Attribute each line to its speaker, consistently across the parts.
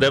Speaker 1: det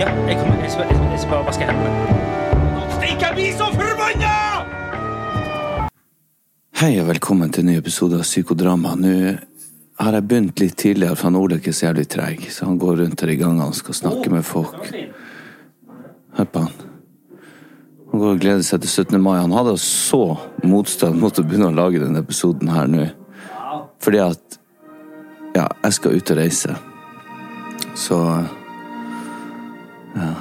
Speaker 2: Ja, jeg kommer, jeg skal, jeg skal, jeg skal bare vaske hendene.
Speaker 1: Stikk, jeg blir så forbanna!
Speaker 3: Hei og velkommen til en ny episode av Psykodrama. Nå har jeg begynt litt tidligere, for han Ole er ikke så jævlig treig. Så han går rundt her i gangene og skal snakke med folk. Hør på han. Han går og gleder seg til 17. mai. Han hadde så motstand mot å begynne å lage denne episoden her nå. Fordi at Ja, jeg skal ut og reise. Så Ja.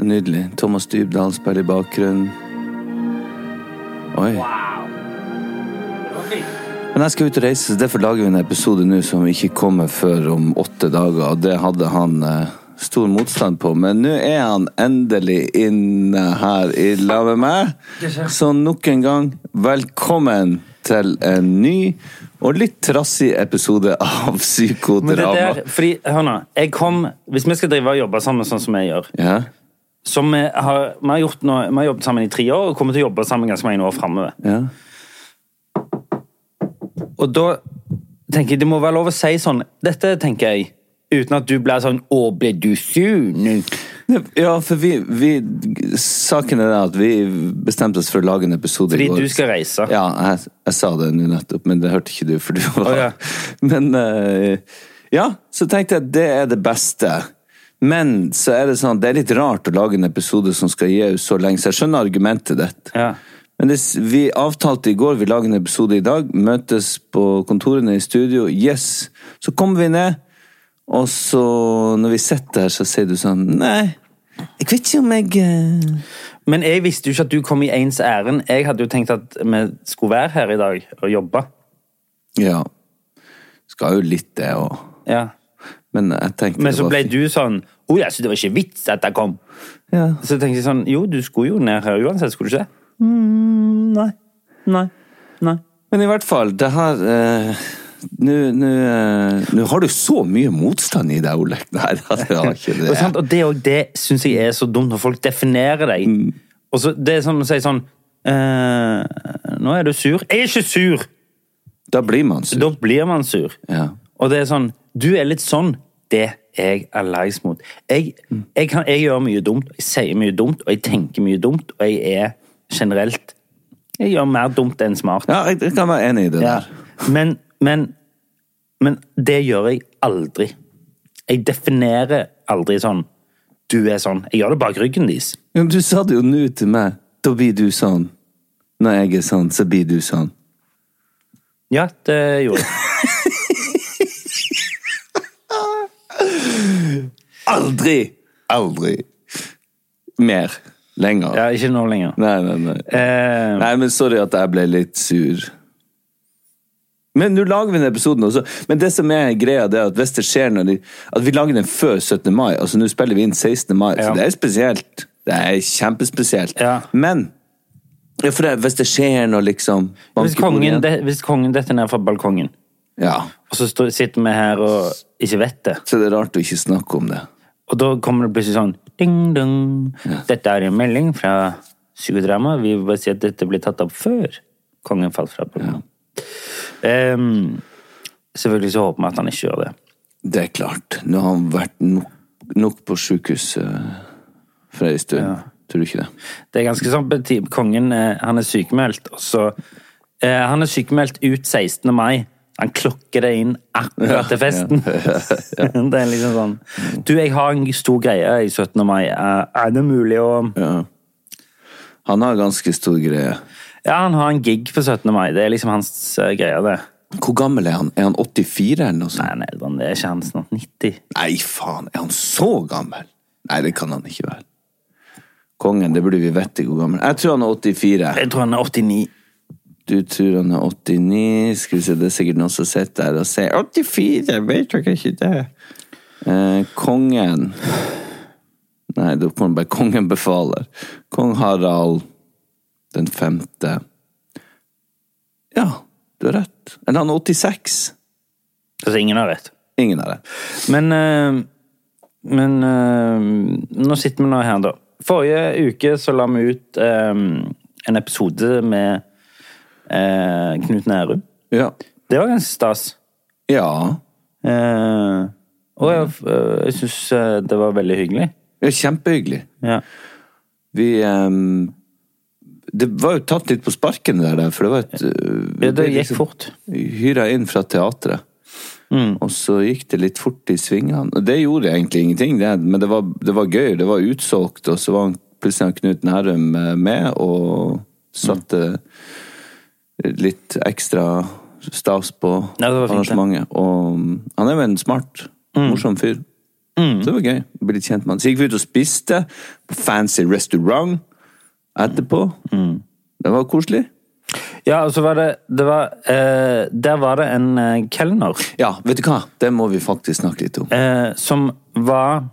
Speaker 3: Nydelig. Thomas Dybdahl spiller i bakgrunnen. Oi. Men jeg skal ut og reise, så derfor lager vi en episode nå som ikke kommer før om åtte dager, og det hadde han eh, stor motstand på. Men nå er han endelig inne her i lag med meg. Så nok en gang, velkommen til en ny og litt trassig episode av
Speaker 2: Men det
Speaker 3: Psykodrama.
Speaker 2: der, fordi, hør nå, jeg kom, hvis vi skal drive og jobbe sammen sånn som jeg gjør,
Speaker 3: Ja,
Speaker 2: som vi har, vi har, gjort nå, vi har jobbet sammen i tre år, og kommer til å jobbe sammen ganske mange år fremover.
Speaker 3: ja.
Speaker 2: Og da tenker jeg, det må være lov å si sånn, dette tenker jeg, uten at du blir sånn, å, ble du sur nå?
Speaker 3: Ne- Ja, for vi, vi Saken er det at vi bestemte oss for å lage en episode
Speaker 2: Fordi du skal reise.
Speaker 3: Ja, jeg, jeg sa det nå nettopp, men det hørte ikke du, for du var
Speaker 2: Å, ja.
Speaker 3: Men eh, Ja, så tenkte jeg at det er det beste. Men så er det sånn, det er litt rart å lage en episode som skal gi ut så lenge, så jeg skjønner argumentet ditt.
Speaker 2: Ja.
Speaker 3: Men det, s- vi avtalte i går, vi lager en episode i dag, møtes på kontorene i studio, yes! Så kommer vi ned, og så, når vi sitter her, så sier du sånn Nei, jeg vet ikke om jeg eh,
Speaker 2: Men jeg visste jo ikke at du kom i ens æren. Jeg hadde jo tenkt at vi skulle være her i dag og jobbe.
Speaker 3: Ja. Skal jo litt det òg.
Speaker 2: Ja.
Speaker 3: Men jeg tenkte
Speaker 2: Men
Speaker 3: det
Speaker 2: så
Speaker 3: var
Speaker 2: ble
Speaker 3: fint.
Speaker 2: du sånn, å ja, så det var ikke vits at jeg kom.
Speaker 3: ja.
Speaker 2: Så tenkte jeg sånn, jo, du skulle jo ned her uansett, skulle du ikke? det?
Speaker 3: Nei.
Speaker 2: Mm, Nei. Nei.
Speaker 3: Men i hvert fall, det her eh, Nå nå, eh, nå har du så mye motstand i deg, Olek. Nei, det har ikke
Speaker 2: Og, sant?
Speaker 3: det.
Speaker 2: og det, og det syns jeg er så dumt når folk definerer deg. Og så, det er som å si sånn eh, Nå er du sur. Jeg er ikke sur!
Speaker 3: Da blir man sur.
Speaker 2: Da blir man sur.
Speaker 3: Ja.
Speaker 2: Og det er sånn Du er litt sånn. Det er jeg allergisk mot. Jeg, jeg, kan, jeg gjør mye dumt, jeg sier mye dumt, og jeg tenker mye dumt, og jeg er generelt Jeg gjør mer dumt enn smart.
Speaker 3: Ja, jeg, jeg kan være enig i det der.
Speaker 2: Men, men, men det gjør jeg aldri. Jeg definerer aldri sånn Du er sånn. Jeg gjør det bak ryggen deres.
Speaker 3: Ja, men Du sa det jo nå til meg. Da blir du sånn. Når jeg er sånn, så blir du sånn.
Speaker 2: Ja, det gjorde jeg.
Speaker 3: Aldri! Aldri. Mer. Lenger.
Speaker 2: Ja, ikke nå lenger.
Speaker 3: Nei, nei, nei.
Speaker 2: Eh,
Speaker 3: Nei, men sorry at jeg ble litt sur. Men nå lager vi den episoden også. Men det som er greia, det er at hvis det skjer når de, At vi lager den før 17. mai. Altså, nå spiller vi inn 16. mai,
Speaker 2: Ja.
Speaker 3: så det er spesielt. Det er kjempespesielt.
Speaker 2: Ja.
Speaker 3: Men ja, for det, hvis det skjer noe, liksom
Speaker 2: hvis,
Speaker 3: banker bordet
Speaker 2: kongen,
Speaker 3: igjen-
Speaker 2: de, hvis kongen detter ned fra balkongen,
Speaker 3: Ja.
Speaker 2: og så står- sitter vi her og ikke vet det,
Speaker 3: Så det er rart å ikke snakke om det.
Speaker 2: og da kommer det plutselig sånn ding, dong. Dette er en melding fra psykodrama. Vi vil bare si at dette ble tatt opp før kongen falt fra balkongen. Ehm, selvfølgelig så håper vi at han ikke gjør det.
Speaker 3: Det er klart. Nå har han vært nok, nok på sjukehus eh, for ei stund. Tror du ikke det?
Speaker 2: Det er ganske sånn beti- Kongen eh, han er sykemeldt, og så eh, Han er sykemeldt ut 16. mai. Han klokker det inn akkurat til festen. det er liksom sånn Du, jeg har en stor greie i 17. mai. Er er det mulig å
Speaker 3: Han har ganske stor greie.
Speaker 2: Ja, han har en gig på 17. mai. Det er liksom hans eh, greie, det.
Speaker 3: Hvor gammel er han? Er han 84 eller noe sånt?
Speaker 2: Nei, nei, det er ikke han snart 90.
Speaker 3: Nei, faen, er han så gammel? Nei, det kan han ikke være. Kongen, det burde vi vite hvor gammel. Jeg tror han er 84.
Speaker 2: Jeg tror han er 89.
Speaker 3: Du tror han er 89. Skal vi se, det er sikkert noen som sitter der og sier 84, vet dere ikke det? Eh, kongen Nei, da kommer det bare 'Kongen befaler'. Kong Harald den femte. Ja, du har rett. Eller han er 86.
Speaker 2: Altså, ingen har rett.
Speaker 3: Ingen har rett.
Speaker 2: Men, eh, men eh, nå sitter vi nå her, da. Forrige uke så la vi ut eh, en episode med eh, Knut Nærum.
Speaker 3: Ja.
Speaker 2: Det var ganske stas.
Speaker 3: Ja.
Speaker 2: Eh, og jeg, eh, jeg syns eh, det var veldig hyggelig.
Speaker 3: ja kjempehyggelig.
Speaker 2: Ja.
Speaker 3: Vi ehm, Det var jo tatt litt på sparken der, der, for det var et øh,
Speaker 2: Ja, det
Speaker 3: ble
Speaker 2: gikk fort.
Speaker 3: Hyra inn fra teatret. Og så gikk det litt fort i svingene. Og Det gjorde egentlig ingenting, det, men det var, det var gøy. Det var utsolgt, og så var han plutselig han Knut Nærum eh, med og satte litt ekstra stas på
Speaker 2: Ja, det var fint, det.
Speaker 3: arrangementet. Og mm, han er jo en smart, morsom fyr. Så det var gøy. å Bli litt kjent med han. Så gikk vi ut og spiste på fancy restaurant etterpå. Mm. Det var koselig.
Speaker 2: Ja, og så var det, det var, eh, Der var det en eh, kelner
Speaker 3: Ja, vet du hva? Det må vi faktisk snakke litt om.
Speaker 2: eh, som var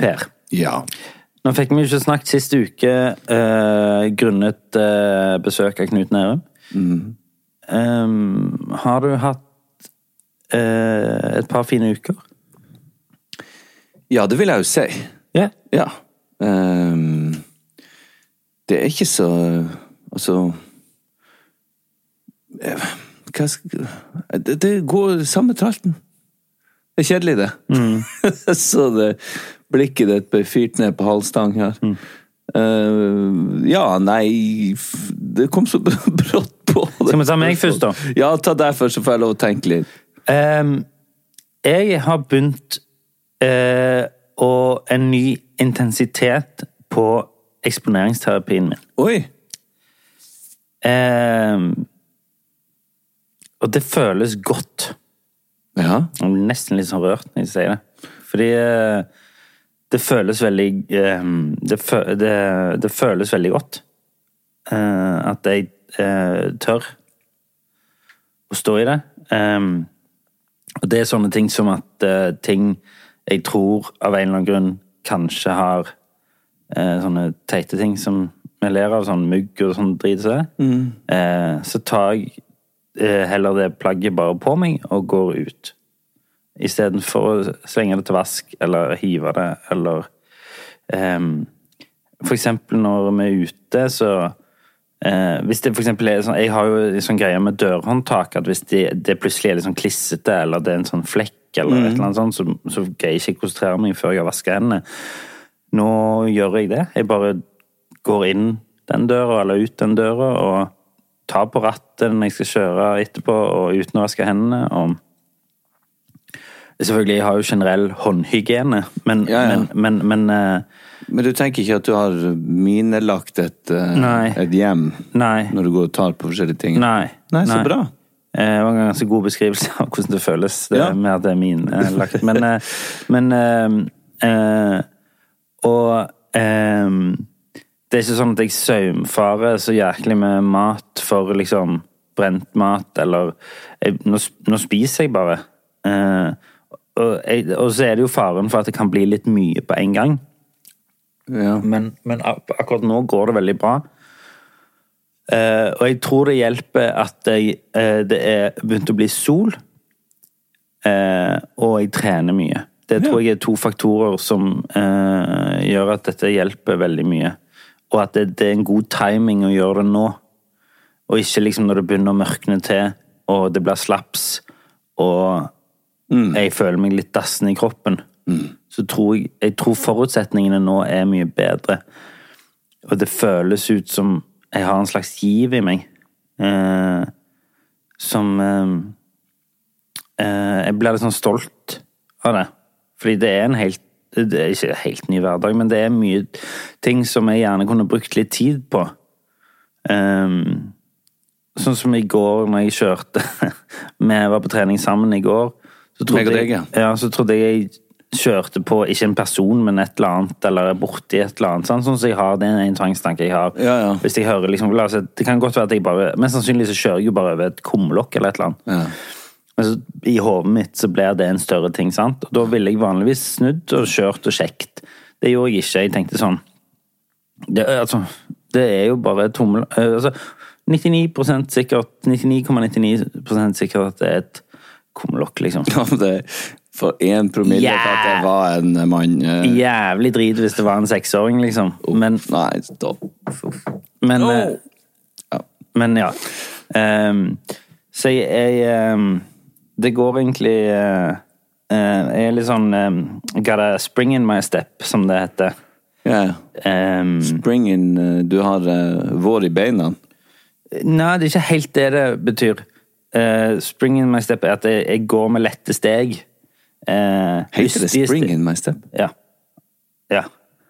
Speaker 2: Per.
Speaker 3: Ja.
Speaker 2: Nå fikk vi jo ikke snakket sist uke eh, grunnet eh, besøk av Knut Nærum. Mm. Ehm, har du hatt eh, et par fine uker?
Speaker 3: ja, det vil jeg jo si.
Speaker 2: Ja.
Speaker 3: Ja. Ehm, det er ikke så Altså eh, Hva skal det, det går samme tralten. Det er kjedelig, det.
Speaker 2: Mm.
Speaker 3: Jeg så det blikket ditt ble fyrt ned på halvstang her.
Speaker 2: Mm.
Speaker 3: Eh, ja, nei f- Det kom så brått på.
Speaker 2: Skal vi ta meg først, da?
Speaker 3: Ja, ta deg først, så får jeg lov å tenke litt.
Speaker 2: Ehm, jeg har begynt eh, å En ny intensitet på eksponeringsterapien min.
Speaker 3: Oi!
Speaker 2: Ehm, og det føles godt.
Speaker 3: Ja.
Speaker 2: Jeg blir nesten litt sånn rørt når jeg sier det. Fordi eh, det føles veldig eh, det, fø, det, det føles veldig godt eh, at jeg eh, tør å stå i det. Em, og det er sånne ting som at eh, ting jeg tror av en eller annen grunn kanskje har eh, sånne teite ting som vi ler av, sånn mugg og sånn drit som det. Eh, så tar jeg eh, heller det plagget bare på meg og går ut. Istedenfor å slenge det til vask eller hive det eller ehm, For eksempel når vi er ute, så eh, Hvis det for eksempel er sånn Jeg har jo en sånn greie med dørhåndtak at hvis det, det plutselig er litt sånn klissete eller det er en sånn flekk eller
Speaker 3: Mm.
Speaker 2: et eller annet sånt, så, så greier jeg ikke å konsentrere meg før jeg har vaska hendene. Nå gjør jeg det. Jeg bare går inn den døra eller ut den døra og tar på rattet når jeg skal kjøre etterpå og uten å vaske hendene. og Selvfølgelig, jeg har jo generell håndhygiene, men,
Speaker 3: Ja, ja.
Speaker 2: men, men, men eh,
Speaker 3: Men du tenker ikke at du har minelagt et, eh,
Speaker 2: Nei.
Speaker 3: et hjem
Speaker 2: Nei.
Speaker 3: når du går og tar på forskjellige ting?
Speaker 2: Nei.
Speaker 3: Nei, så bra.
Speaker 2: Eh, Det var en ganske god beskrivelse av hvordan det føles det
Speaker 3: Ja.
Speaker 2: med at det er min eh, lagt. Men, eh, men eh, eh, Og eh, det er ikke sånn at jeg saumfarer så jæklig med mat for liksom brent mat, eller jeg, nå, sp- nå spiser jeg bare. Eh, og, jeg, og så er det jo faren for at det kan bli litt mye på en gang.
Speaker 3: Ja.
Speaker 2: Men, men ak akkurat nå går det veldig bra. Eh, og jeg tror det hjelper at jeg, eh, det er begynt å bli sol, eh, og jeg trener mye. Det tror jeg er to faktorer som eh, gjør at dette hjelper veldig mye. Og at det, det er en god timing å gjøre det nå, og ikke liksom når det begynner å mørkne til, og det blir slaps, og jeg føler meg litt dassen i kroppen. Så tror jeg, jeg tror forutsetningene nå er mye bedre. Og det føles ut som jeg har en slags giv i meg. Eh, som eh, eh, Jeg blir litt sånn stolt av det. Fordi det er en helt det er ikke en helt ny hverdag, men det er mye ting som jeg gjerne kunne brukt litt tid på. Ehm, sånn som i går når jeg kjørte Vi var på trening sammen i går. Så trodde
Speaker 3: Meg og deg,
Speaker 2: jeg,
Speaker 3: ja.
Speaker 2: ja, så trodde jeg kjørte på ikke en person, men et eller annet, eller er borti et eller annet. Sånn som jeg har, det er en tvangstanke jeg har.
Speaker 3: Ja, ja.
Speaker 2: Hvis jeg hører liksom, la oss si, Det kan godt være at jeg bare Mest sannsynlig så kjører jeg jo bare over et kumlokk eller et eller annet. Men så, I hodet mitt så blir det en større ting, sant? Og da ville jeg vanligvis snudd og kjørt og sjekt. Det gjorde jeg ikke. Jeg tenkte sånn Det, er- altså, det er jo bare tommel... eh, Altså, 99 sikkert 99,99 sikkert at det er et kumlokk, liksom.
Speaker 3: Ja, men det er for én promille for at jeg
Speaker 2: Yeah.
Speaker 3: var en mann. eh,
Speaker 2: Jævlig drit hvis det var en seksåring, liksom. Men,
Speaker 3: Nei, stopp.
Speaker 2: Men,
Speaker 3: No!
Speaker 2: eh, men ja. Ehm, så jeg, jeg ehm, Det går egentlig eh, eh, Jeg er litt sånn um, Got a spring in my step, som det heter.
Speaker 3: Ja, ja.
Speaker 2: Ehm,
Speaker 3: Spring in, eh, du har eh, vår i beina.
Speaker 2: nei, det er ikke helt det det betyr. Eh, spring in my step er at jeg, jeg går med lette steg. Eh,
Speaker 3: Heter det
Speaker 2: lystige
Speaker 3: spring
Speaker 2: ste-
Speaker 3: in my step?
Speaker 2: Ja. ja.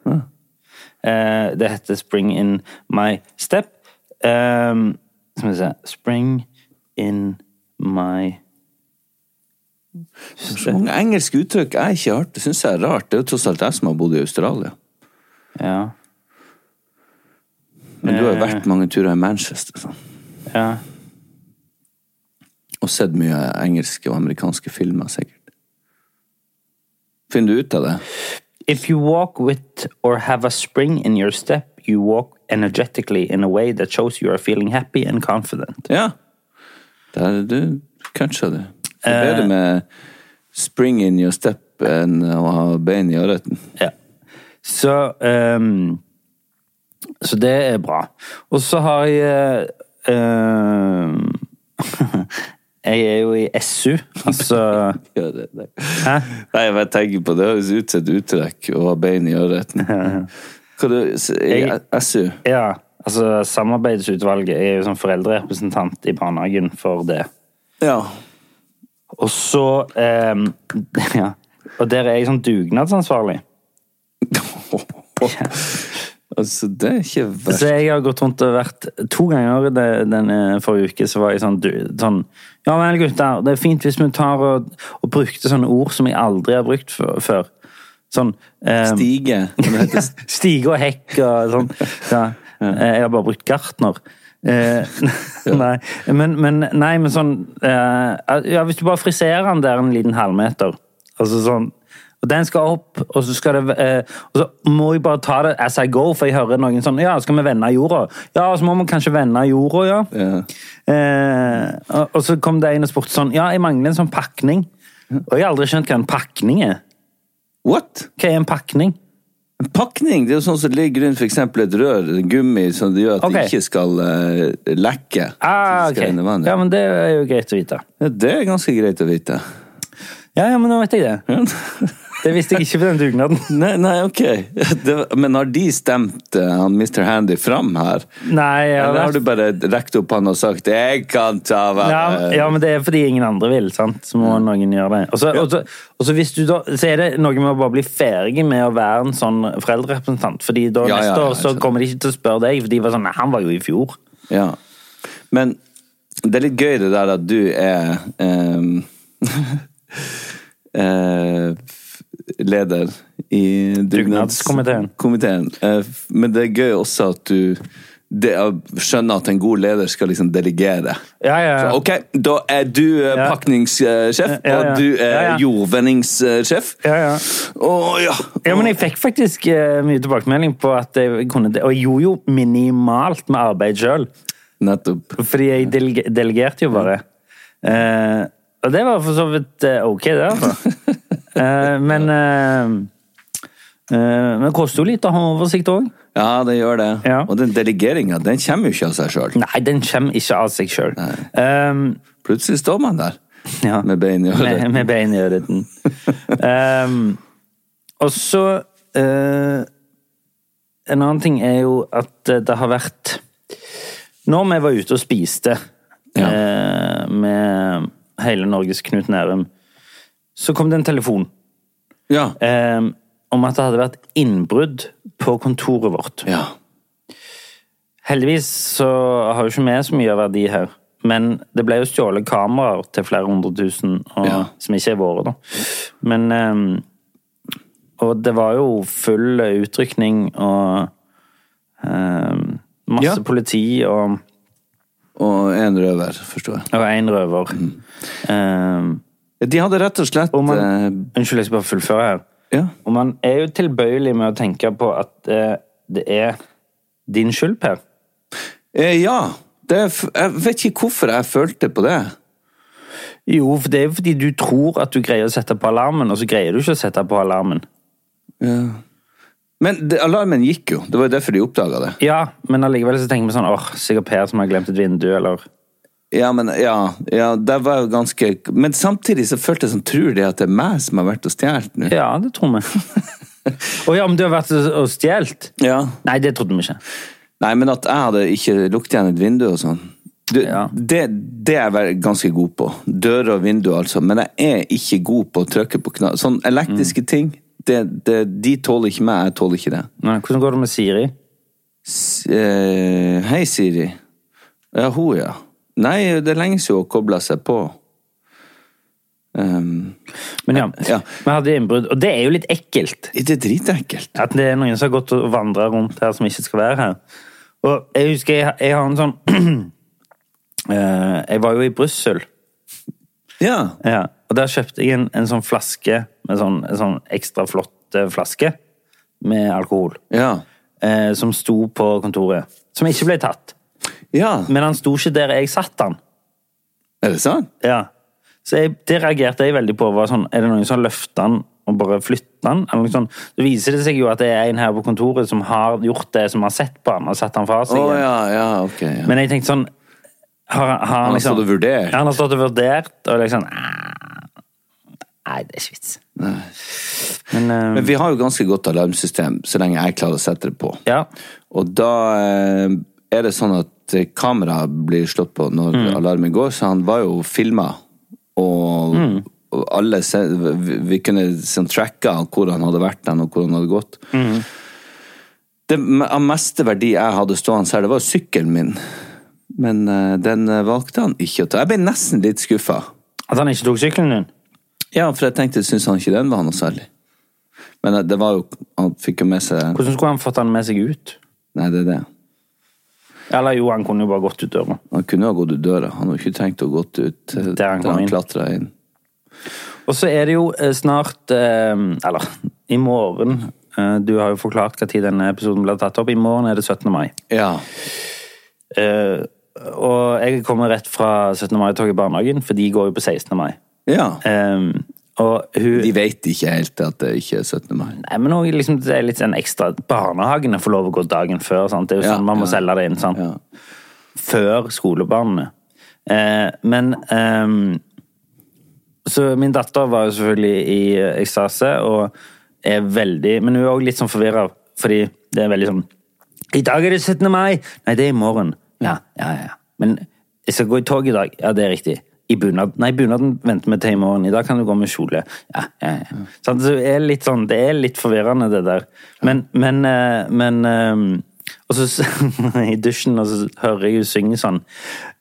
Speaker 2: Eh, det heter Spring in my step. Ehm, skal vi se Spring in my
Speaker 3: Så mange engelske uttrykk jeg ikke har hørt. Det syns jeg er rart. Det er jo tross alt jeg som har bodd i Australia.
Speaker 2: Ja.
Speaker 3: Men du har jo vært mange turer i Manchester sånn.
Speaker 2: ja.
Speaker 3: og sett mye engelske og amerikanske filmer, sikkert. Finner du ut av det?
Speaker 2: If you walk with or have a spring in your step, you walk energetically in a way that shows you are feeling happy and confident.
Speaker 3: Ja. Der er du catcha det. Det er
Speaker 2: Eh.
Speaker 3: bedre med spring in your step enn å ha bein i ørreten.
Speaker 2: Ja. Så ehm, Så det er bra. Og så har jeg eh, ehm, Jeg er jo i SU, altså
Speaker 3: Ja, det, det. Nei, jeg bare tenker på det. Det høres ut som et uttrekk å ha bein i ørreten. Hva du, s- i
Speaker 2: Jeg-
Speaker 3: SU?
Speaker 2: Ja, altså Samarbeidsutvalget jeg er jo som foreldrerepresentant i barnehagen for det.
Speaker 3: Ja.
Speaker 2: Og så ehm, ja. Og der er jeg sånn dugnadsansvarlig.
Speaker 3: Altså, det er ikke verst.
Speaker 2: Så jeg har gått rundt og vært to ganger det, den eh, forrige uke, så var jeg sånn, du, sånn Ja vel, gutter, det er fint hvis vi tar og, og brukte sånne ord som jeg aldri har brukt før. før. Sånn eh,
Speaker 3: Stige. Det heter s-
Speaker 2: Stige og hekk og sånn. Ja. Eh, Jeg har bare brukt gartner. Eh, nei, men, men, nei, men sånn eh, ja, Hvis du bare friserer den der en liten halvmeter altså sånn, og Den skal opp, og så skal det eh, og så må jeg bare ta det as I go, for jeg hører noen sånn Ja, skal vi vende jorda? Ja, så må vi kanskje vende jorda, ja.
Speaker 3: Ja.
Speaker 2: Eh, og, og så kom det en og spurte sånn Ja, jeg mangler en sånn pakning. Og jeg har aldri skjønt hva en pakning er.
Speaker 3: What?
Speaker 2: Hva er en pakning?
Speaker 3: En pakning? Det er jo sånn som ligger rundt for eksempel et rør, en gummi, som det gjør at
Speaker 2: Ok.
Speaker 3: det ikke skal eh, lekke.
Speaker 2: Ah,
Speaker 3: Det skal
Speaker 2: ok.
Speaker 3: inn i vannet.
Speaker 2: Ja, men det er jo greit å vite.
Speaker 3: Ja, det er ganske greit å vite.
Speaker 2: Ja, ja, men nå vet jeg det. Det visste jeg ikke på den dugnaden.
Speaker 3: Nei, nei, ok. Det, var- men har de stemt eh, han Mr. Handy fram her?
Speaker 2: Nei, jeg har
Speaker 3: Eller har
Speaker 2: vært...
Speaker 3: du bare rekt opp han og sagt 'jeg kan ta
Speaker 2: ja,
Speaker 3: vannet'?
Speaker 2: ja, men det er fordi ingen andre vil, sant? Så må noen gjøre det. Og så- Og så- og så hvis du da, så er det noe med å bare bli ferdig med å være en sånn foreldrerepresentant, fordi da
Speaker 3: Ja, ja,
Speaker 2: neste
Speaker 3: ja,
Speaker 2: år
Speaker 3: jeg
Speaker 2: så
Speaker 3: skjønner.
Speaker 2: kommer de ikke til å spørre deg, for de var sånn, nei, han var jo i fjor.
Speaker 3: Ja. Men det er litt gøy det der at du er ehm, eh, f- leder i
Speaker 2: Dugnadskomiteen.
Speaker 3: komiteen. Eh, f- men det er gøy også at du det, jeg skjønner at en god leder skal liksom delegere.
Speaker 2: Ja, ja, ja.
Speaker 3: Så, ok, da er du eh,
Speaker 2: Ja.
Speaker 3: pakningssjef,
Speaker 2: Ja, ja.
Speaker 3: og du er
Speaker 2: Ja, ja.
Speaker 3: jordvendingssjef.
Speaker 2: Ja, ja.
Speaker 3: Å ja!
Speaker 2: Ja, men jeg fikk faktisk eh, mye tilbakemelding på at jeg kunne det, og jeg gjorde jo minimalt med arbeid selv.
Speaker 3: Nettopp.
Speaker 2: Fordi jeg delege- delegerte jo bare. Eh, og det var for så vidt eh, ok, det, altså. Eh, men eh, eh, Men det koster jo litt å ha oversikt òg.
Speaker 3: Ja, det gjør det.
Speaker 2: Ja.
Speaker 3: Og den delegeringa, den kommer jo ikke av seg sjøl.
Speaker 2: Nei, den kommer ikke av seg Eh, sjøl.
Speaker 3: Plutselig står man der
Speaker 2: ja.
Speaker 3: med bein i øret.
Speaker 2: Med, med bein i øreten. Ehm, og så eh, En annen ting er jo at eh, det har vært Når vi var ute og spiste
Speaker 3: Ja.
Speaker 2: eh, med hele Norges Knut Nærum, så kom det en telefon
Speaker 3: Ja.
Speaker 2: eh, om at det hadde vært innbrudd på kontoret vårt.
Speaker 3: ja.
Speaker 2: Heldigvis så har jo ikke vi så mye av verdi her. Men det ble jo stjålet kameraer til flere hundre tusen, og,
Speaker 3: Ja.
Speaker 2: som ikke er våre, da. Men ehm, Og det var jo full utrykning og ehm, masse
Speaker 3: Ja.
Speaker 2: politi og
Speaker 3: Og en røver, forstår jeg.
Speaker 2: Og én røver.
Speaker 3: Mm.
Speaker 2: Ehm,
Speaker 3: De hadde rett og slett
Speaker 2: og man
Speaker 3: eh,
Speaker 2: Unnskyld, jeg skal bare fullføre her.
Speaker 3: Ja.
Speaker 2: Og man er jo tilbøyelig med å tenke på at eh, det er din skyld, Per.
Speaker 3: Eh, ja. Det, er f- jeg vet ikke hvorfor jeg følte på det.
Speaker 2: Jo, for det er jo fordi du tror at du greier å sette på alarmen, og så greier du ikke å sette på alarmen.
Speaker 3: Men det, alarmen gikk jo. Det var jo derfor de oppdaga det.
Speaker 2: Ja, men allikevel så tenker vi sånn åh, sikkert Per som har glemt et vindu, eller
Speaker 3: Ja, men ja, ja det var jo ganske Men samtidig så følte jeg sånn Tror de at det er meg som har vært og stjålet nå?
Speaker 2: Ja, det tror vi. Å ja, men du har vært og og stjålet?
Speaker 3: Ja.
Speaker 2: Nei, det trodde vi ikke.
Speaker 3: Nei, men at jeg hadde ikke lukket igjen et vindu og sånn. Du,
Speaker 2: Ja.
Speaker 3: det, det er jeg vel ganske god på. Dører og vindu, altså. Men jeg er ikke god på å trykke på knapper. Sånn elektriske ting, det, det, de tåler ikke meg. Jeg tåler ikke det.
Speaker 2: Nei, hvordan går det med Siri?
Speaker 3: S- eh, Hei, Siri. Ja, hun, ja. Nei, det er lenge siden hun kobla seg på. Um,
Speaker 2: Men ja,
Speaker 3: Ja.
Speaker 2: vi hadde innbrudd, og det er jo litt ekkelt.
Speaker 3: det er dritekkelt.
Speaker 2: At det er noen som har gått og vandra rundt her som ikke skal være her. Og jeg husker jeg, jeg har en sånn eh, Jeg var jo i Brussel.
Speaker 3: Ja.
Speaker 2: Ja, og der kjøpte jeg en, en sånn flaske, med sånn, en sånn ekstra flott eh, flaske med alkohol,
Speaker 3: Ja.
Speaker 2: eh, som sto på kontoret. Som ikke ble tatt.
Speaker 3: ja.
Speaker 2: Men han sto ikke der jeg satt han.
Speaker 3: Er det sant?
Speaker 2: Ja. Så jeg, det reagerte jeg veldig på. var sånn, Er det noen som løfter han og bare flytter han? Eller noe sånt. Så viser det seg jo at det er en her på kontoret som har gjort det, som har sett på han og satt han fra
Speaker 3: Å
Speaker 2: seg. igjen.
Speaker 3: ja, ja, ok. Ja.
Speaker 2: Men jeg tenkte sånn har, har han,
Speaker 3: har
Speaker 2: liksom,
Speaker 3: stått og vurdert.
Speaker 2: Ja, han har stått og vurdert, og liksom "Ah, Nei, det er ikke vits. Men, eh,
Speaker 3: Men vi har jo ganske godt alarmsystem, så lenge jeg klarer å sette det på.
Speaker 2: ja.
Speaker 3: Og da eh, er det sånn at eh, kameraet blir slått på når alarmen går, så han var jo filma, og, og alle se, vi, vi kunne sånn, tracka hvor han hadde vært den, og hvor han hadde gått. Det me- av meste verdi jeg hadde stående her, det var sykkelen min. Men eh, den eh, valgte han ikke å ta. Jeg ble nesten litt skuffa.
Speaker 2: At han ikke tok sykkelen din?
Speaker 3: Ja, for jeg tenkte, syns han ikke den var noe særlig? Men eh, det var jo Han fikk jo med seg
Speaker 2: Hvordan skulle han fått han med seg ut?
Speaker 3: Nei, det er det.
Speaker 2: Eller jo, han kunne jo bare gått ut døra.
Speaker 3: Han kunne ha gått ut døra. Han hadde jo ikke trengt å gå ut eh, der
Speaker 2: han
Speaker 3: han,
Speaker 2: kom inn.
Speaker 3: han klatra inn.
Speaker 2: Og så er det jo eh, snart eh, Eller i morgen eh, Du har jo forklart hva tid denne episoden ble tatt opp. I morgen er det 17. mai.
Speaker 3: Ja.
Speaker 2: Eh, og jeg kommer rett fra 17. mai-toget i barnehagen, for de går jo på 16. mai.
Speaker 3: ja.
Speaker 2: Eh, og hun
Speaker 3: De veit ikke helt at det ikke er 17. mai.
Speaker 2: Nei, men også, liksom, det er litt sånn ekstra Barnehagene får lov å gå dagen før. Sant? Det er jo
Speaker 3: Ja,
Speaker 2: sånn Man må
Speaker 3: ja.
Speaker 2: selge det inn sant?
Speaker 3: Ja.
Speaker 2: før skolebarnene. Eh, men ehm, Så min datter var jo selvfølgelig i eh, ekstase og er veldig Men hun er òg litt sånn forvirra, fordi det er veldig sånn I dag er det 17. mai! Nei, det er i morgen. Ja, ja, ja. ja. Men jeg skal gå i tog i dag. Ja, det er riktig. I bunad. Nei, bunaden venter vi til i morgen. I dag kan du gå med kjole. Ja, ja, ja. Sant? Så det er litt sånn, det er litt forvirrende, det der. Men, men, eh, men ehm, og så s- i dusjen og så hører jeg hun synge sånn.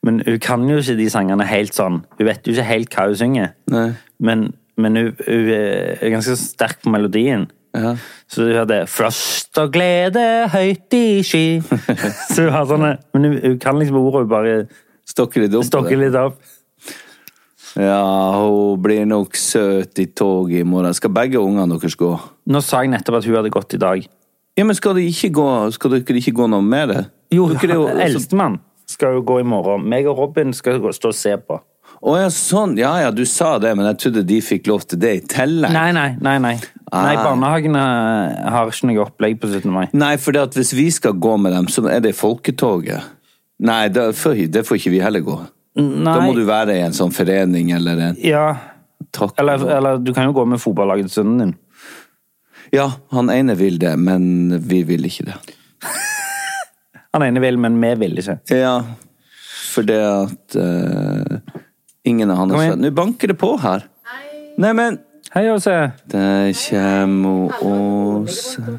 Speaker 2: Men hun kan jo ikke de sangene helt sånn. Hun vet jo ikke helt hva hun synger.
Speaker 3: Nei.
Speaker 2: Men, men hun, hun er ganske sterk på melodien. Så hun hadde 'Frost og glede høyt i sky'. så hun har sånne, Men hun, hun kan liksom ordet, hun bare
Speaker 3: Stokker litt opp. eh.
Speaker 2: stokker litt opp.
Speaker 3: Ja, hun blir nok søt i tog i morgen. Skal begge ungene deres gå?
Speaker 2: Nå sa jeg nettopp at hun hadde gått i dag.
Speaker 3: Ja, men skal, de ikke gå, skal dere ikke gå noe mer?
Speaker 2: Jo,
Speaker 3: dere er jo altså- også-
Speaker 2: Eldstemann skal jo gå i morgen. Meg og Robin skal gå, stå og se på.
Speaker 3: Å ja, sånn. Ja ja, du sa det, men jeg trodde de fikk lov til det i tillegg.
Speaker 2: Nei, nei, nei. nei. Nei,
Speaker 3: Ah.
Speaker 2: Barnehagene har ikke noe opplegg på 17. mai.
Speaker 3: Nei, for at hvis vi skal gå med dem, så er det folketoget. Nei, det får, det får ikke vi heller gå. Da må
Speaker 2: Mm. Nei,
Speaker 3: du være i en sånn forening eller en
Speaker 2: ja.
Speaker 3: takk.
Speaker 2: Eller, eller du kan jo gå med fotballaget til sønnen din.
Speaker 3: Ja, han ene vil det, men vi vil ikke det.
Speaker 2: Han ene vil, men vi vil ikke.
Speaker 3: Ja, fordi at eh, ingen av hans
Speaker 2: Kom igjen.
Speaker 3: venner Nå banker det på her. Nei, men
Speaker 2: Hei, Åse.
Speaker 3: Der kjem Åse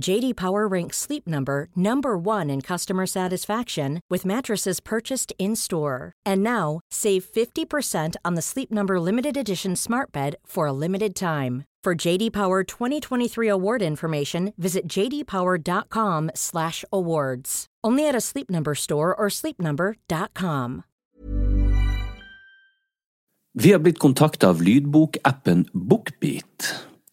Speaker 4: JD Power ranks Sleep Number number 1 in customer satisfaction with mattresses purchased in-store. And now, save 50% on the Sleep Number limited edition Smart Bed for a limited time. For JD Power 2023 award information, visit jdpower.com/awards. Only at a Sleep Number store or sleepnumber.com.
Speaker 3: Vi har blitt kontakta av lydbokappen Bookbeat.